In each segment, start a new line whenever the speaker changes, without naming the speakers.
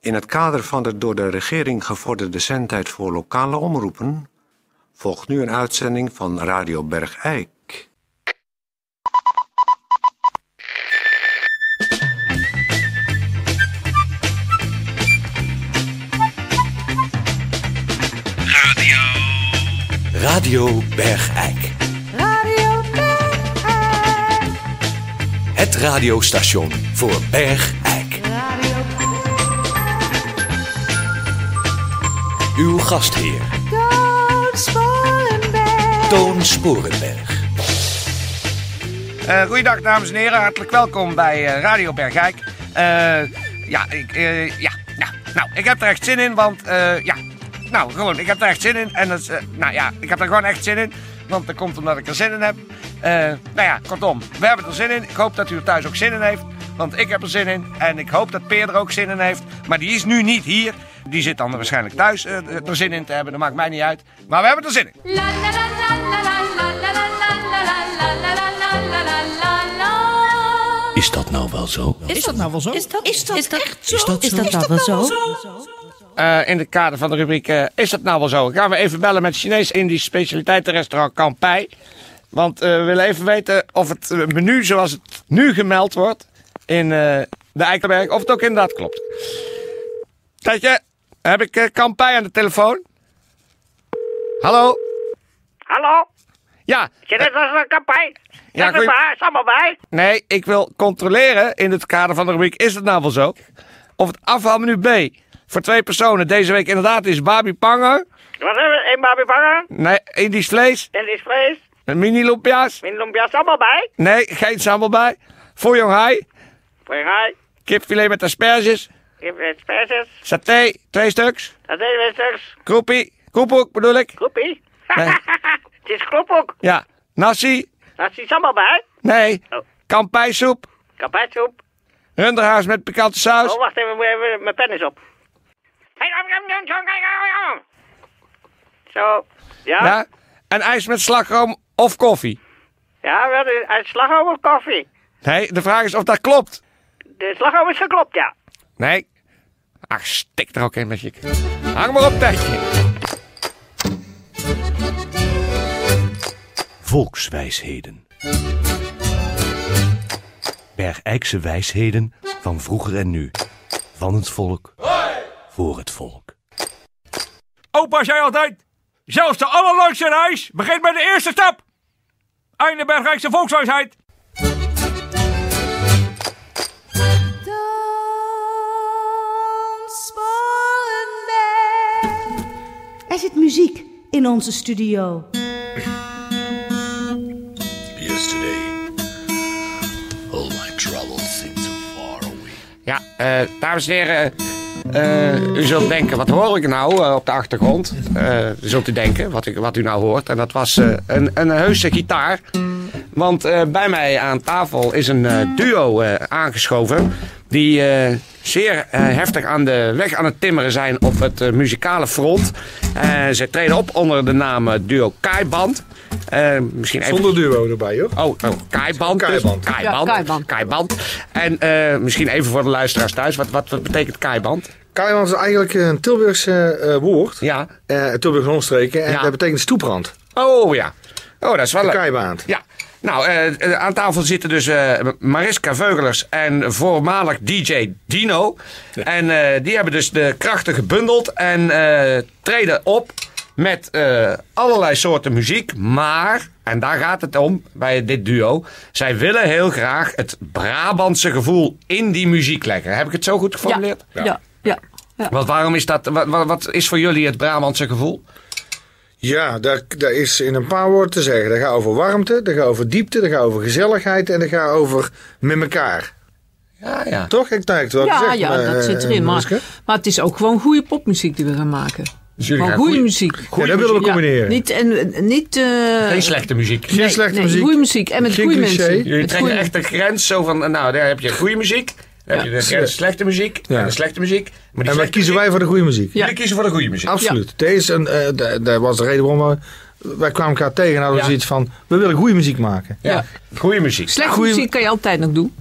In het kader van de door de regering gevorderde zendtijd voor lokale omroepen volgt nu een uitzending van Radio Bergijk.
Radio Bergijk.
Radio Bergijk.
Het radiostation voor Bergijk.
Radio
Uw gastheer
Toon Sporenberg.
Toon Sporenberg.
Eh goeiedag dames en heren, hartelijk welkom bij eh, Radio Bergijk. Eh, ja, ik, eh, ja, ja, nou, ik heb er echt zin in, want eh, ja, nou gewoon, ik heb er echt zin in. En dat is, eh, nou ja, ik heb er gewoon echt zin in, want dat komt omdat ik er zin in heb. Eh, nou ja, kortom, we hebben er zin in. Ik hoop dat u er thuis ook zin in heeft, want ik heb er zin in. En ik hoop dat Peer er ook zin in heeft, maar die is nu niet hier. Die zit dan waarschijnlijk thuis eh, er zin in te hebben, dat maakt mij niet uit. Maar we hebben er zin in.
La la la la la la la la la la la la la la la la la la la.
Is dat nou wel zo?
Is dat nou wel zo? Is dat, is dat, echt zo?
Is dat, nou wel zo?
Eh, in het kader van de rubriek eh, Is dat nou wel zo? Gaan we even bellen met Chinees-Indisch specialiteitenrestaurant Kampai. Want eh, we willen even weten of het eh, menu zoals het nu gemeld wordt in eh, de Eikenberg, of het ook inderdaad klopt. Tijdje, heb ik eh, Kampai aan de telefoon? Hallo?
Hallo,
Ja, eh,
je net was een kampij.
Ja,
Ja,
goeie-
is waar, is allemaal bij.
nee, ik wil controleren in het kader van de rubriek Is dat nou wel zo? Of het afhaalmenu B voor twee personen deze week inderdaad is Babi Pango.
Wat hebben we? Een babi banger,
Nee, Indisch vlees.
en die vlees,
Een mini lumpia's?
min lumpia is allemaal bij.
Nee, geen sambal bij. Fooyong hai,
Voor je haai,
kipfilet met asperges,
je hebt het spijsjes,
saté, twee stuks,
dat deed we straks.
kroepie, koepoek bedoel ik.
Koepie.
Nee.
het is klop ook,
Ja, nasi,
dat is allemaal bij.
nee,
Oh.
kampijsoep,
Kampijsoep.
runderhaas met pikante
Oh,
saus.
wacht even, moet even, mijn pen is op. Hey, om, om, om, om, om, om. Zo, ja, ja,
Ja, en ijs met slagroom of koffie.
wel, de- uit slagroom of koffie?
Nee, de vraag is of dat klopt.
De slagroom is geklopt, ja.
Nee. Ach, stik er ook in met je. Hang maar op, tijdje.
Volkswijsheden. Bergijkse wijsheden van vroeger en nu. Van het volk. Voor het volk.
Opa zei altijd: zelfs de allerleukste reis begint bij de eerste stap. Einde Bergrijkse volkswijsheid.
Toon Sporenberg.
Er zit muziek in onze studio.
Yesterday. All my troubles seem so far away.
Ja, eh, dames en heren. eh, u zult denken, wat hoor ik nou eh, op de achtergrond? Eh, zult u denken, wat, ik, wat u nou hoort. En dat was eh, een, een heuse gitaar. Want eh, bij mij aan tafel is een eh, duo eh, aangeschoven. Die eh, zeer eh, heftig aan de weg aan het timmeren zijn op het eh, muzikale front. Eh ze treden op onder de naam eh, Duo Kaiband. Eh, misschien even...
Zonder duo erbij, joh.
Oh, oh kaiband. dus.
Kaiband.
Kaiband.
kaiband.
Kaiband. En eh, misschien even voor de luisteraars thuis. Wat, wat, wat betekent kaiband?
Kaiwan is eigenlijk een Tilburgse eh, woord.
Ja.
Eh, Tilburgse omstreken. En
Ja.
dat betekent stoeprand.
Oh ja. Oh, dat is wel
De
leuk.
kaaibaand.
Ja. Nou, eh, eh, aan tafel zitten dus eh, Mariska Veugelers en voormalig DJ Dino. En eh, die hebben dus de krachten gebundeld en eh, treden op met eh, allerlei soorten muziek. Maar, en daar gaat het om bij dit duo, zij willen heel graag het Brabantse gevoel in die muziek leggen. Heb ik het zo goed geformuleerd?
Ja. ja. ja.
Want waarom is dat, wat, wat- wat is voor jullie het Brabantse gevoel?
Ja, daar, daar is in een paar woorden te zeggen. Dat gaat over warmte, dat gaat over diepte, dat gaat over gezelligheid en dat gaat over met elkaar.
Ja, ja.
Toch? Ik denk wel
Ja,
gezegd.
ja,
maar,
dat
eh,
zit erin.
Mariska.
Maar, maar het is ook gewoon goede popmuziek die we gaan maken.
jullie
Gewoon
gaan
goede
goeie-
muziek.
Ja, dat willen we combineren.
Niet, en, en niet, eh,
Geen slechte muziek.
Geen slechte
nee,
muziek.
goede muziek. En met
Geen
goede
cliché.
mensen.
Jullie
Met
trekken
goeie-
echt de grens zo van, nou, daar heb je goede muziek. Dan heb je de grens slechte muziek
Ja.
en de slechte muziek. Maar die
En wat
slechte
kiezen wij
muziek-
voor de goede muziek?
Ja.
Jullie kiezen voor de goede muziek.
Absoluut. Deze, een, eh, da- dat was de reden waarom we, wij kwamen elkaar tegen en hadden we
Ja.
zoiets van, we willen goede muziek maken.
Ja. Goede muziek. Nou,
Slechte
Goeie-
muziek kan je altijd nog doen.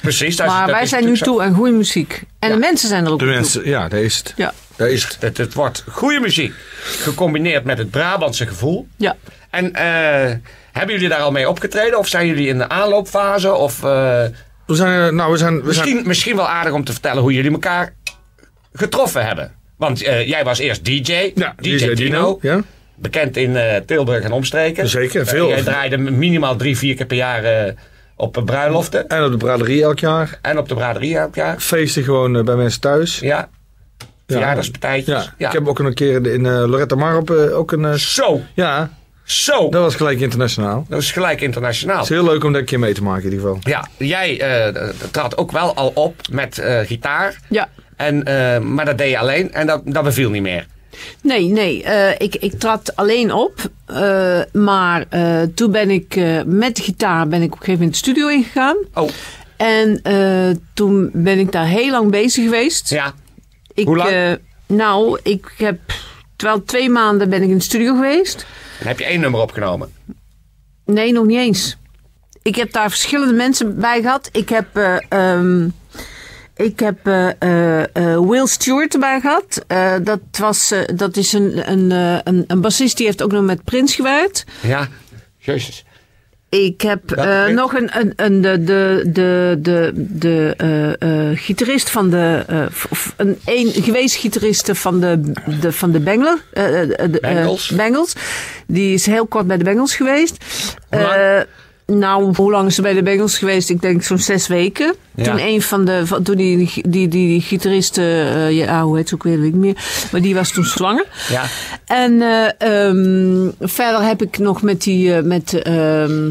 Precies, daar-
maar
dat
wij
is
zijn nu
natuurlijk
toe aan goede muziek. En de mensen zijn er ook
De
aan toe.
mensen, ja, dat is het.
Ja,
Dat is het.
zo. Het, het wordt goede muziek, gecombineerd met het Brabantse gevoel.
ja.
En eh, hebben jullie daar al mee opgetreden? Of zijn jullie in de aanloopfase? Of, eh,
We zijn, eh, nou, we zijn, we zijn
misschien, misschien wel aardig om te vertellen hoe jullie elkaar getroffen hebben. Want eh, jij was eerst DJ,
Ja,
DJ, Dino,
Ja,
bekend in eh, Tilburg en omstreken.
Zeker,
Eh,
veel.
jij draaide minimaal drie, vier keer per jaar eh, op eh, bruiloften
en op de braderie elk jaar.
en op de braderie elk jaar.
Feesten gewoon eh, bij mensen thuis.
Ja, verjaardagspartijtjes.
Ja. Ik heb ook een keer in eh, Loretta Mar op eh, ook een... eh, s-
Zo,
ja,
zo.
dat was gelijk internationaal.
Dat is gelijk internationaal.
Het is heel leuk om daar een keer mee te maken in ieder geval.
Ja, jij eh, trad ook wel al op met eh, gitaar.
ja.
En, eh, maar dat deed je alleen en dat, dat beviel niet meer.
Nee, nee. eh, ik, ik trad alleen op. eh, maar eh, toen ben ik eh, met de gitaar ben ik op een gegeven moment de studio ingegaan.
Oh,
En eh, toen ben ik daar heel lang bezig geweest.
ja.
Ik,
Hoe lang?
eh, nou, ik heb... Terwijl twee maanden ben ik in de studio geweest.
Dan heb je één nummer opgenomen.
Nee, nog niet eens. Ik heb daar verschillende mensen bij gehad. Ik heb, eh, ehm, ik heb eh, eh, eh, Will Stewart erbij gehad. Eh, dat, was, eh, dat is een, een, eh, een, een bassist die heeft ook nog met Prins gewerkt.
Ja. Jezus.
Ik heb
Welke
eh,
Prins?
nog een, een, een de, de, de, de, de eh, eh, gitarist van de. eh, f- f- een, een geweest gitariste van de, de, van de Bengler. eh, eh, de, eh,
Bengals?
Bengals. Die is heel kort bij de Bengals geweest.
Hoe lang?
Eh, nou, hoe lang is ze bij de Bengals geweest? Ik denk zo'n zes weken.
Ja.
Toen een van de. van- Toen die, die, die, die gitariste. eh, ja, hoe heet ze ook weer? Weet ik niet meer. Maar die was toen zwanger.
Ja.
En eh, ehm, verder heb ik nog met die. eh, met, ehm,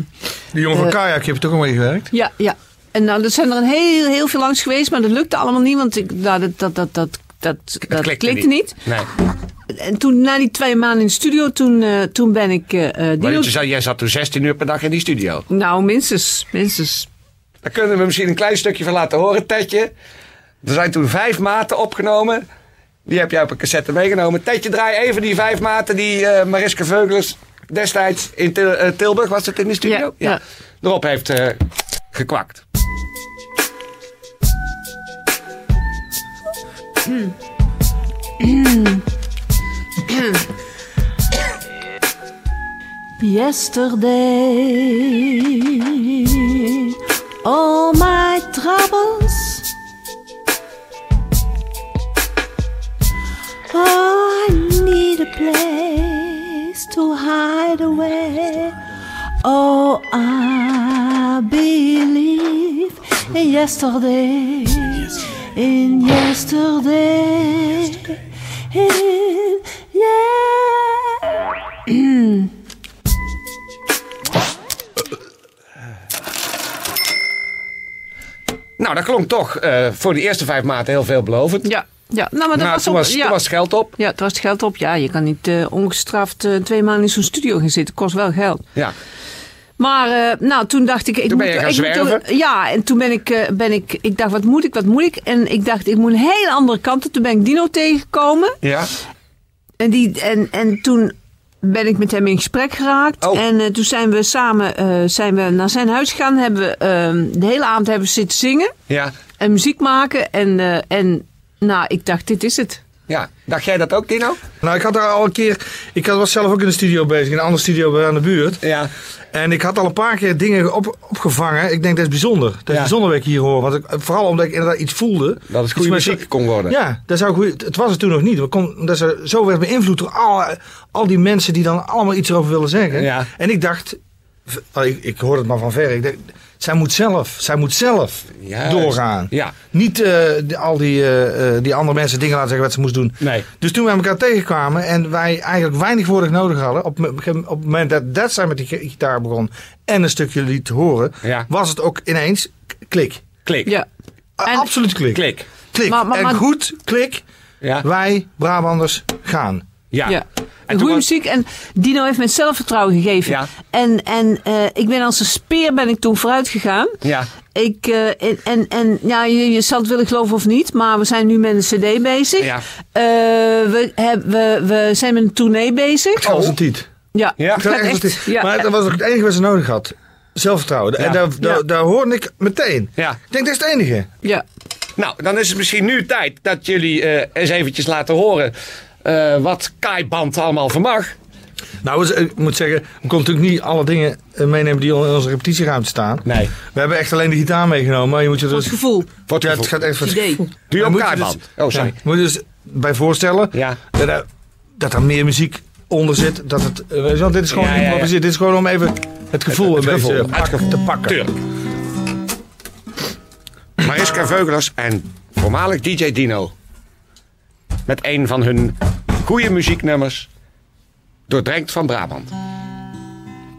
Die jongen
Eh.
van Kajak, je hebt toch al mee gewerkt?
ja, ja. En nou, er zijn er een heel, heel veel langs geweest, maar dat lukte allemaal niet, want ik, nou, dat, dat, dat, dat, dat, dat
klikte
klikte,
niet.
niet.
Nee.
En toen, na die twee maanden in de studio, toen, eh, toen ben ik eh, eh,
Maar
Dino...
je zei, jij zat toen 16 uur per dag in die studio.
Nou, minstens, minstens.
Daar kunnen we misschien een klein stukje van laten horen, Tedje. Er zijn toen vijf maten opgenomen. Die heb jij op een cassette meegenomen. Tedje, draai even die vijf maten die eh, Mariska Veuglers destijds in Til- eh, Tilburg, was het in de studio?
Ja, ja.
Erop heeft eh, gekwakt.
Yesterday, all my troubles. Oh, I need a place to hide away. Oh, I believe in yesterday, in yesterday, in yesterday.
Nou, dat klonk toch eh, voor de eerste vijf maten heel veelbelovend.
Ja, ja. Nou, maar dat
Maar
was
toen,
ook...
was,
ja.
toen was het geld op.
ja, toen was het geld op. Ja, je kan niet eh, ongestraft eh, twee maanden in zo'n studio gaan zitten. Kost wel geld.
Ja.
Maar eh, nou, toen dacht ik... ik
Toen ben
moet,
je gaan
ik moet-
zwerven?
ja, en toen ben ik, eh, ben ik... Ik dacht, wat moet ik, wat moet ik? En ik dacht, ik moet een hele andere kant op. Toen ben ik Dino tegengekomen.
Ja.
En, die, en, en toen ben ik met hem in gesprek geraakt.
Oh.
En eh, toen zijn we samen eh, zijn we naar zijn huis gegaan. Hebben we, ehm, de hele avond hebben we zitten zingen
Ja.
en muziek maken. En, eh, en nou, ik dacht, dit is het.
Ja. Dacht jij dat ook, Dino?
Nou, ik had daar al een keer... Ik had- was zelf ook in de studio bezig, in een andere studio bij aan de buurt.
Ja.
En ik had al een paar keer dingen op, opgevangen. Ik denk, dat is bijzonder. Dat is
Ja.
bijzonder wat ik hier hoor. Want ik, vooral omdat ik inderdaad iets voelde.
Dat het
Iets
goede
met-
muziek kon worden.
Ja, dat zou goed, het was het toen nog niet. We kon, dat ze zo werd beïnvloed door alle, al die mensen die dan allemaal iets erover willen zeggen.
Ja.
En ik dacht, v- nou, ik, ik hoorde het maar van ver. Ik dacht, zij moet zelf, zij moet zelf
Juist.
doorgaan.
Ja.
Niet eh, die- al die, eh, eh, die andere mensen dingen laten zeggen wat ze moest doen.
Nee.
Dus toen wij elkaar tegenkwamen en wij eigenlijk weinig woorden nodig hadden. Op, me- op het moment dat, dat zij met die gi- gitaar begon en een stukje liet horen.
Ja.
Was het ook ineens k- klik.
Klik.
Ja.
A-
En-
Absoluut klik.
Klik.
Klik.
Maar- maar-
en
maar-
goed, klik.
Ja.
Wij Brabanders gaan.
Ja.
Ja.
toen
Goede
was-
muziek en Dino heeft mij zelfvertrouwen gegeven.
Ja.
En, en eh, ik ben als een speer ben ik toen vooruit gegaan.
Ja.
Ik, eh, en, en, en ja, je, je zal het willen geloven of niet, maar we zijn nu met een cd bezig.
Ja.
Eh, we, heb, we, we zijn met een tournee bezig.
Dat was een tiet.
Ja,
Ja.
ja,
Oh. Dat was echt eh, een
echt.
tiet.
Ja.
Maar dat was ook het enige wat ze nodig had. Zelfvertrouwen. En
Ja.
daar, daar, daar hoorde ik meteen.
Ja.
Ik denk, dat is het enige.
Ja.
Nou, dan is het misschien nu tijd dat jullie eh, eens eventjes laten horen eh, wat Kaiband allemaal vermag.
Nou, dus, ik moet zeggen, we konden natuurlijk niet alle dingen eh, meenemen die al in onze repetitieruimte staan.
Nee.
We hebben echt alleen de gitaar meegenomen. maar Je moet je
Voor het
dus,
gevoel.
Wat
ja, het gaat echt
Het
voor
idee.
Doe je
Dan
ook
moet je
Kaiband?
dus-
oh, sorry.
Ja, moet je dus bij voorstellen
Ja.
dat, er, dat er meer muziek onder zit. Dat het, eh, weet je wel, dit is gewoon
Ja, ja, ja.
improviseren. Dit is gewoon om even het gevoel
het
een
gevoel.
beetje
Het gevoel.
te pakken.
Tuurlijk. Mariska Veugelers en voormalig DJ Dino. Met een van hun goede muzieknummers. Doordrenkt van Brabant.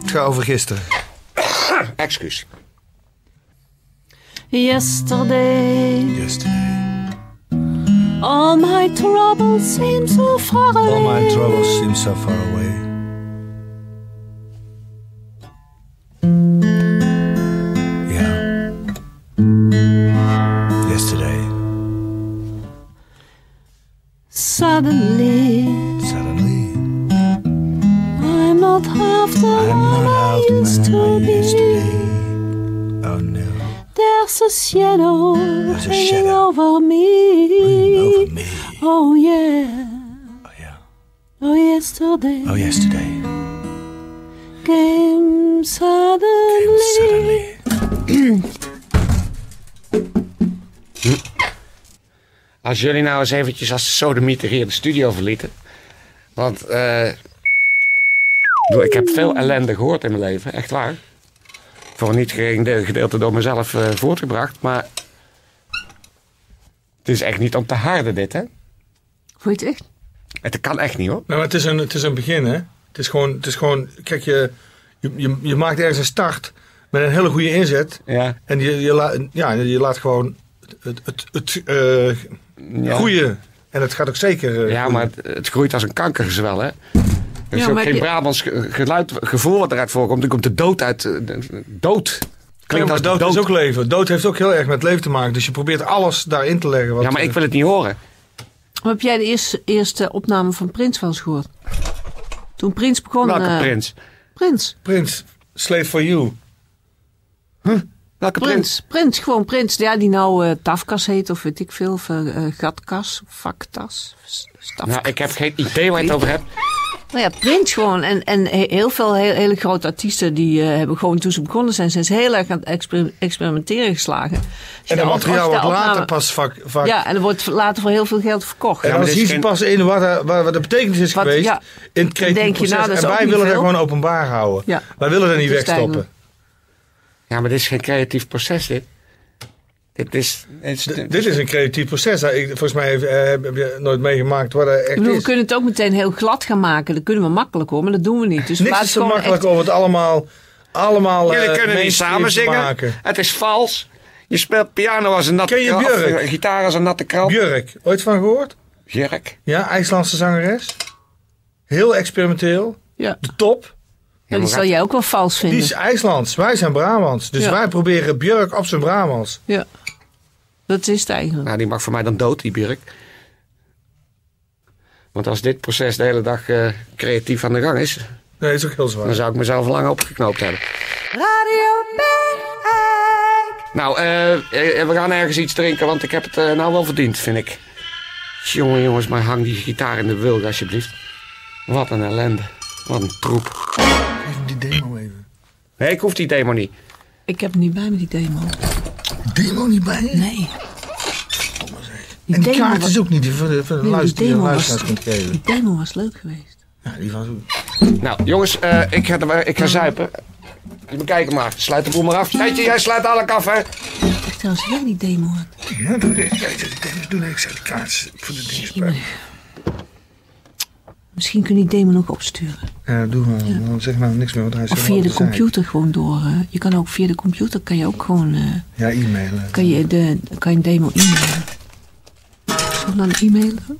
Het gaat over gisteren.
Excuus.
Yesterday, all my troubles seem so far away.
All my troubles seem so far away. Yeah. Yesterday,
Suddenly,
suddenly,
I'm not half the one I used to be.
Oh no,
There's a shadow
a
hanging
shadow
over me.
me.
Oh yeah,
Oh yeah.
oh yesterday
Oh yesterday,
came suddenly.
suddenly.
Als jullie nou eens eventjes als sodemieter hier de studio verlieten. Want eh, ik bedoel, ik heb veel ellende gehoord in mijn leven, echt waar. Voor een niet gering deel- gedeelte door mezelf eh, voortgebracht. Maar het is echt niet om te harden dit, hè?
Voor je het echt?
Het kan echt niet, hoor.
Nou, maar het is een, het is een begin, hè? Het is gewoon, het is gewoon kijk, je, je, je, je maakt ergens een start met een hele goede inzet.
Ja.
En je, je, la- ja, je laat gewoon het, het, het eh, groeien. En het gaat ook zeker. eh,
Ja,
groeien.
maar het, het groeit als een kankergezwel, hè? Er is
Ja,
ook
maar
geen
je-
Brabants ge- geluid, gevoel wat eruit voorkomt. Er komt de dood uit. eh, de- de- Dood.
Ja,
Klinkt
maar
als
dood,
dood.
is ook leven. Dood heeft ook heel erg met leven te maken. Dus je probeert alles daarin te leggen. Wat,
Ja, maar ik
eh,
wil het niet horen.
Maar heb jij de eerste, eerste opname van Prins wel eens gehoord? Toen Prins begon.
Welke
eh,
prins?
Prins.
Prins, Slave for You.
Welke prins?
Prins. Prins, gewoon Prins. Ja, die nou eh, Tafkas heet of weet ik veel. Of eh, eh, Gatkas, Vaktas. s- Stafkas.
Nou, ik heb geen idee waar je het over hebt.
Nou ja, Prins gewoon. En, en he- heel veel he- hele grote artiesten die eh, hebben gewoon toen ze begonnen zijn, zijn ze heel erg aan het exper- experimenteren geslagen. Als je
En
de
dat
alt- als
materiaal
je de
wordt later
opname-
pas vaak. vaak
Ja, en er wordt later voor heel veel geld verkocht.
En
maar
dan
dit
zien
is
ze
geen-
pas in wat, er- wat, wat de betekenis is
Wat-
geweest
ja.
in het creatieve
Denk je,
proces.
nou, dat is
en
ook
wij
niet
willen dat
veel.
gewoon openbaar houden.
Ja.
Wij willen dat
Dat
niet
is
wegstoppen.
eigenlijk-
Ja, maar dit is geen creatief proces, dit. Dit is... Dit is,
D- dit is een creatief proces. Nou, ik- volgens mij heb, eh, heb je nooit meegemaakt waar dat echt
Ik bedoel, we
is.
kunnen het ook meteen heel glad gaan maken. Dat kunnen we makkelijk hoor, maar dat doen we niet. Dus
Niks
laat
is zo
gewoon
makkelijk
echt-
om het allemaal, allemaal eh,
Jullie kunnen niet
mainstream
samen
te
zingen.
maken.
Het is vals. Je speelt piano als een natte
Ken je
krant,
Björk?
of, eh, Gitaar als een natte krant.
Björk, ooit van gehoord?
Björk.
Ja, IJslandse zangeres. Heel experimenteel.
Ja.
De top.
Ja, die zal jij ook wel vals
Die
vinden.
is IJslands. Wij zijn Brabants. Dus
Ja.
wij proberen Björk op zijn Brabants.
Ja. Dat is het eigenlijk.
Nou, die mag voor mij dan dood, die Björk. Want als dit proces de hele dag eh, creatief aan de gang is...
Nee, dat is ook heel
dan
zwaar.
zou ik mezelf lang opgeknoopt hebben. Nou, eh, eh, we gaan ergens iets drinken, want ik heb het eh, nou wel verdiend, vind ik. Jongen, jongens, maar hang die gitaar in de wilg, alsjeblieft. Wat een ellende. Wat een troep.
Even die demo even.
Nee, ik hoef die demo niet.
Ik heb hem niet bij me, die demo.
Demo niet bij?
Nee. Die
En die
demo
kaart
was-
is ook niet die voor de, voor de
nee, maar
luister- die
die demo
je
was-
luisteraars kunt geven.
Die demo was leuk geweest.
Ja, die was ook...
Nou, jongens, eh, ik, ga, er- ik ga zuipen. We kijken maar. Sluit de boel maar af. Heetje, jij sluit alle af, hè?
Ik dacht trouwens, jij die demo had.
Ja, doe dit. Kijk, dit- dit- doe dit. Ik zet de kaart voor de dingen spelen.
Misschien kun je die demo nog opsturen.
Ja, doe maar. Dan zeg maar niks meer, want hij is
Of
helemaal
via
op
de
zijn.
computer gewoon door. eh, je kan ook via de computer kan je ook gewoon eh,
Ja, e-mailen.
kan je de kan je een demo e-mailen. Zullen we dan e-mailen?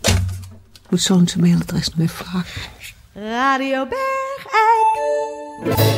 Ik moet zo'n zijn mailadres nog even vragen.
Radio Bergijk.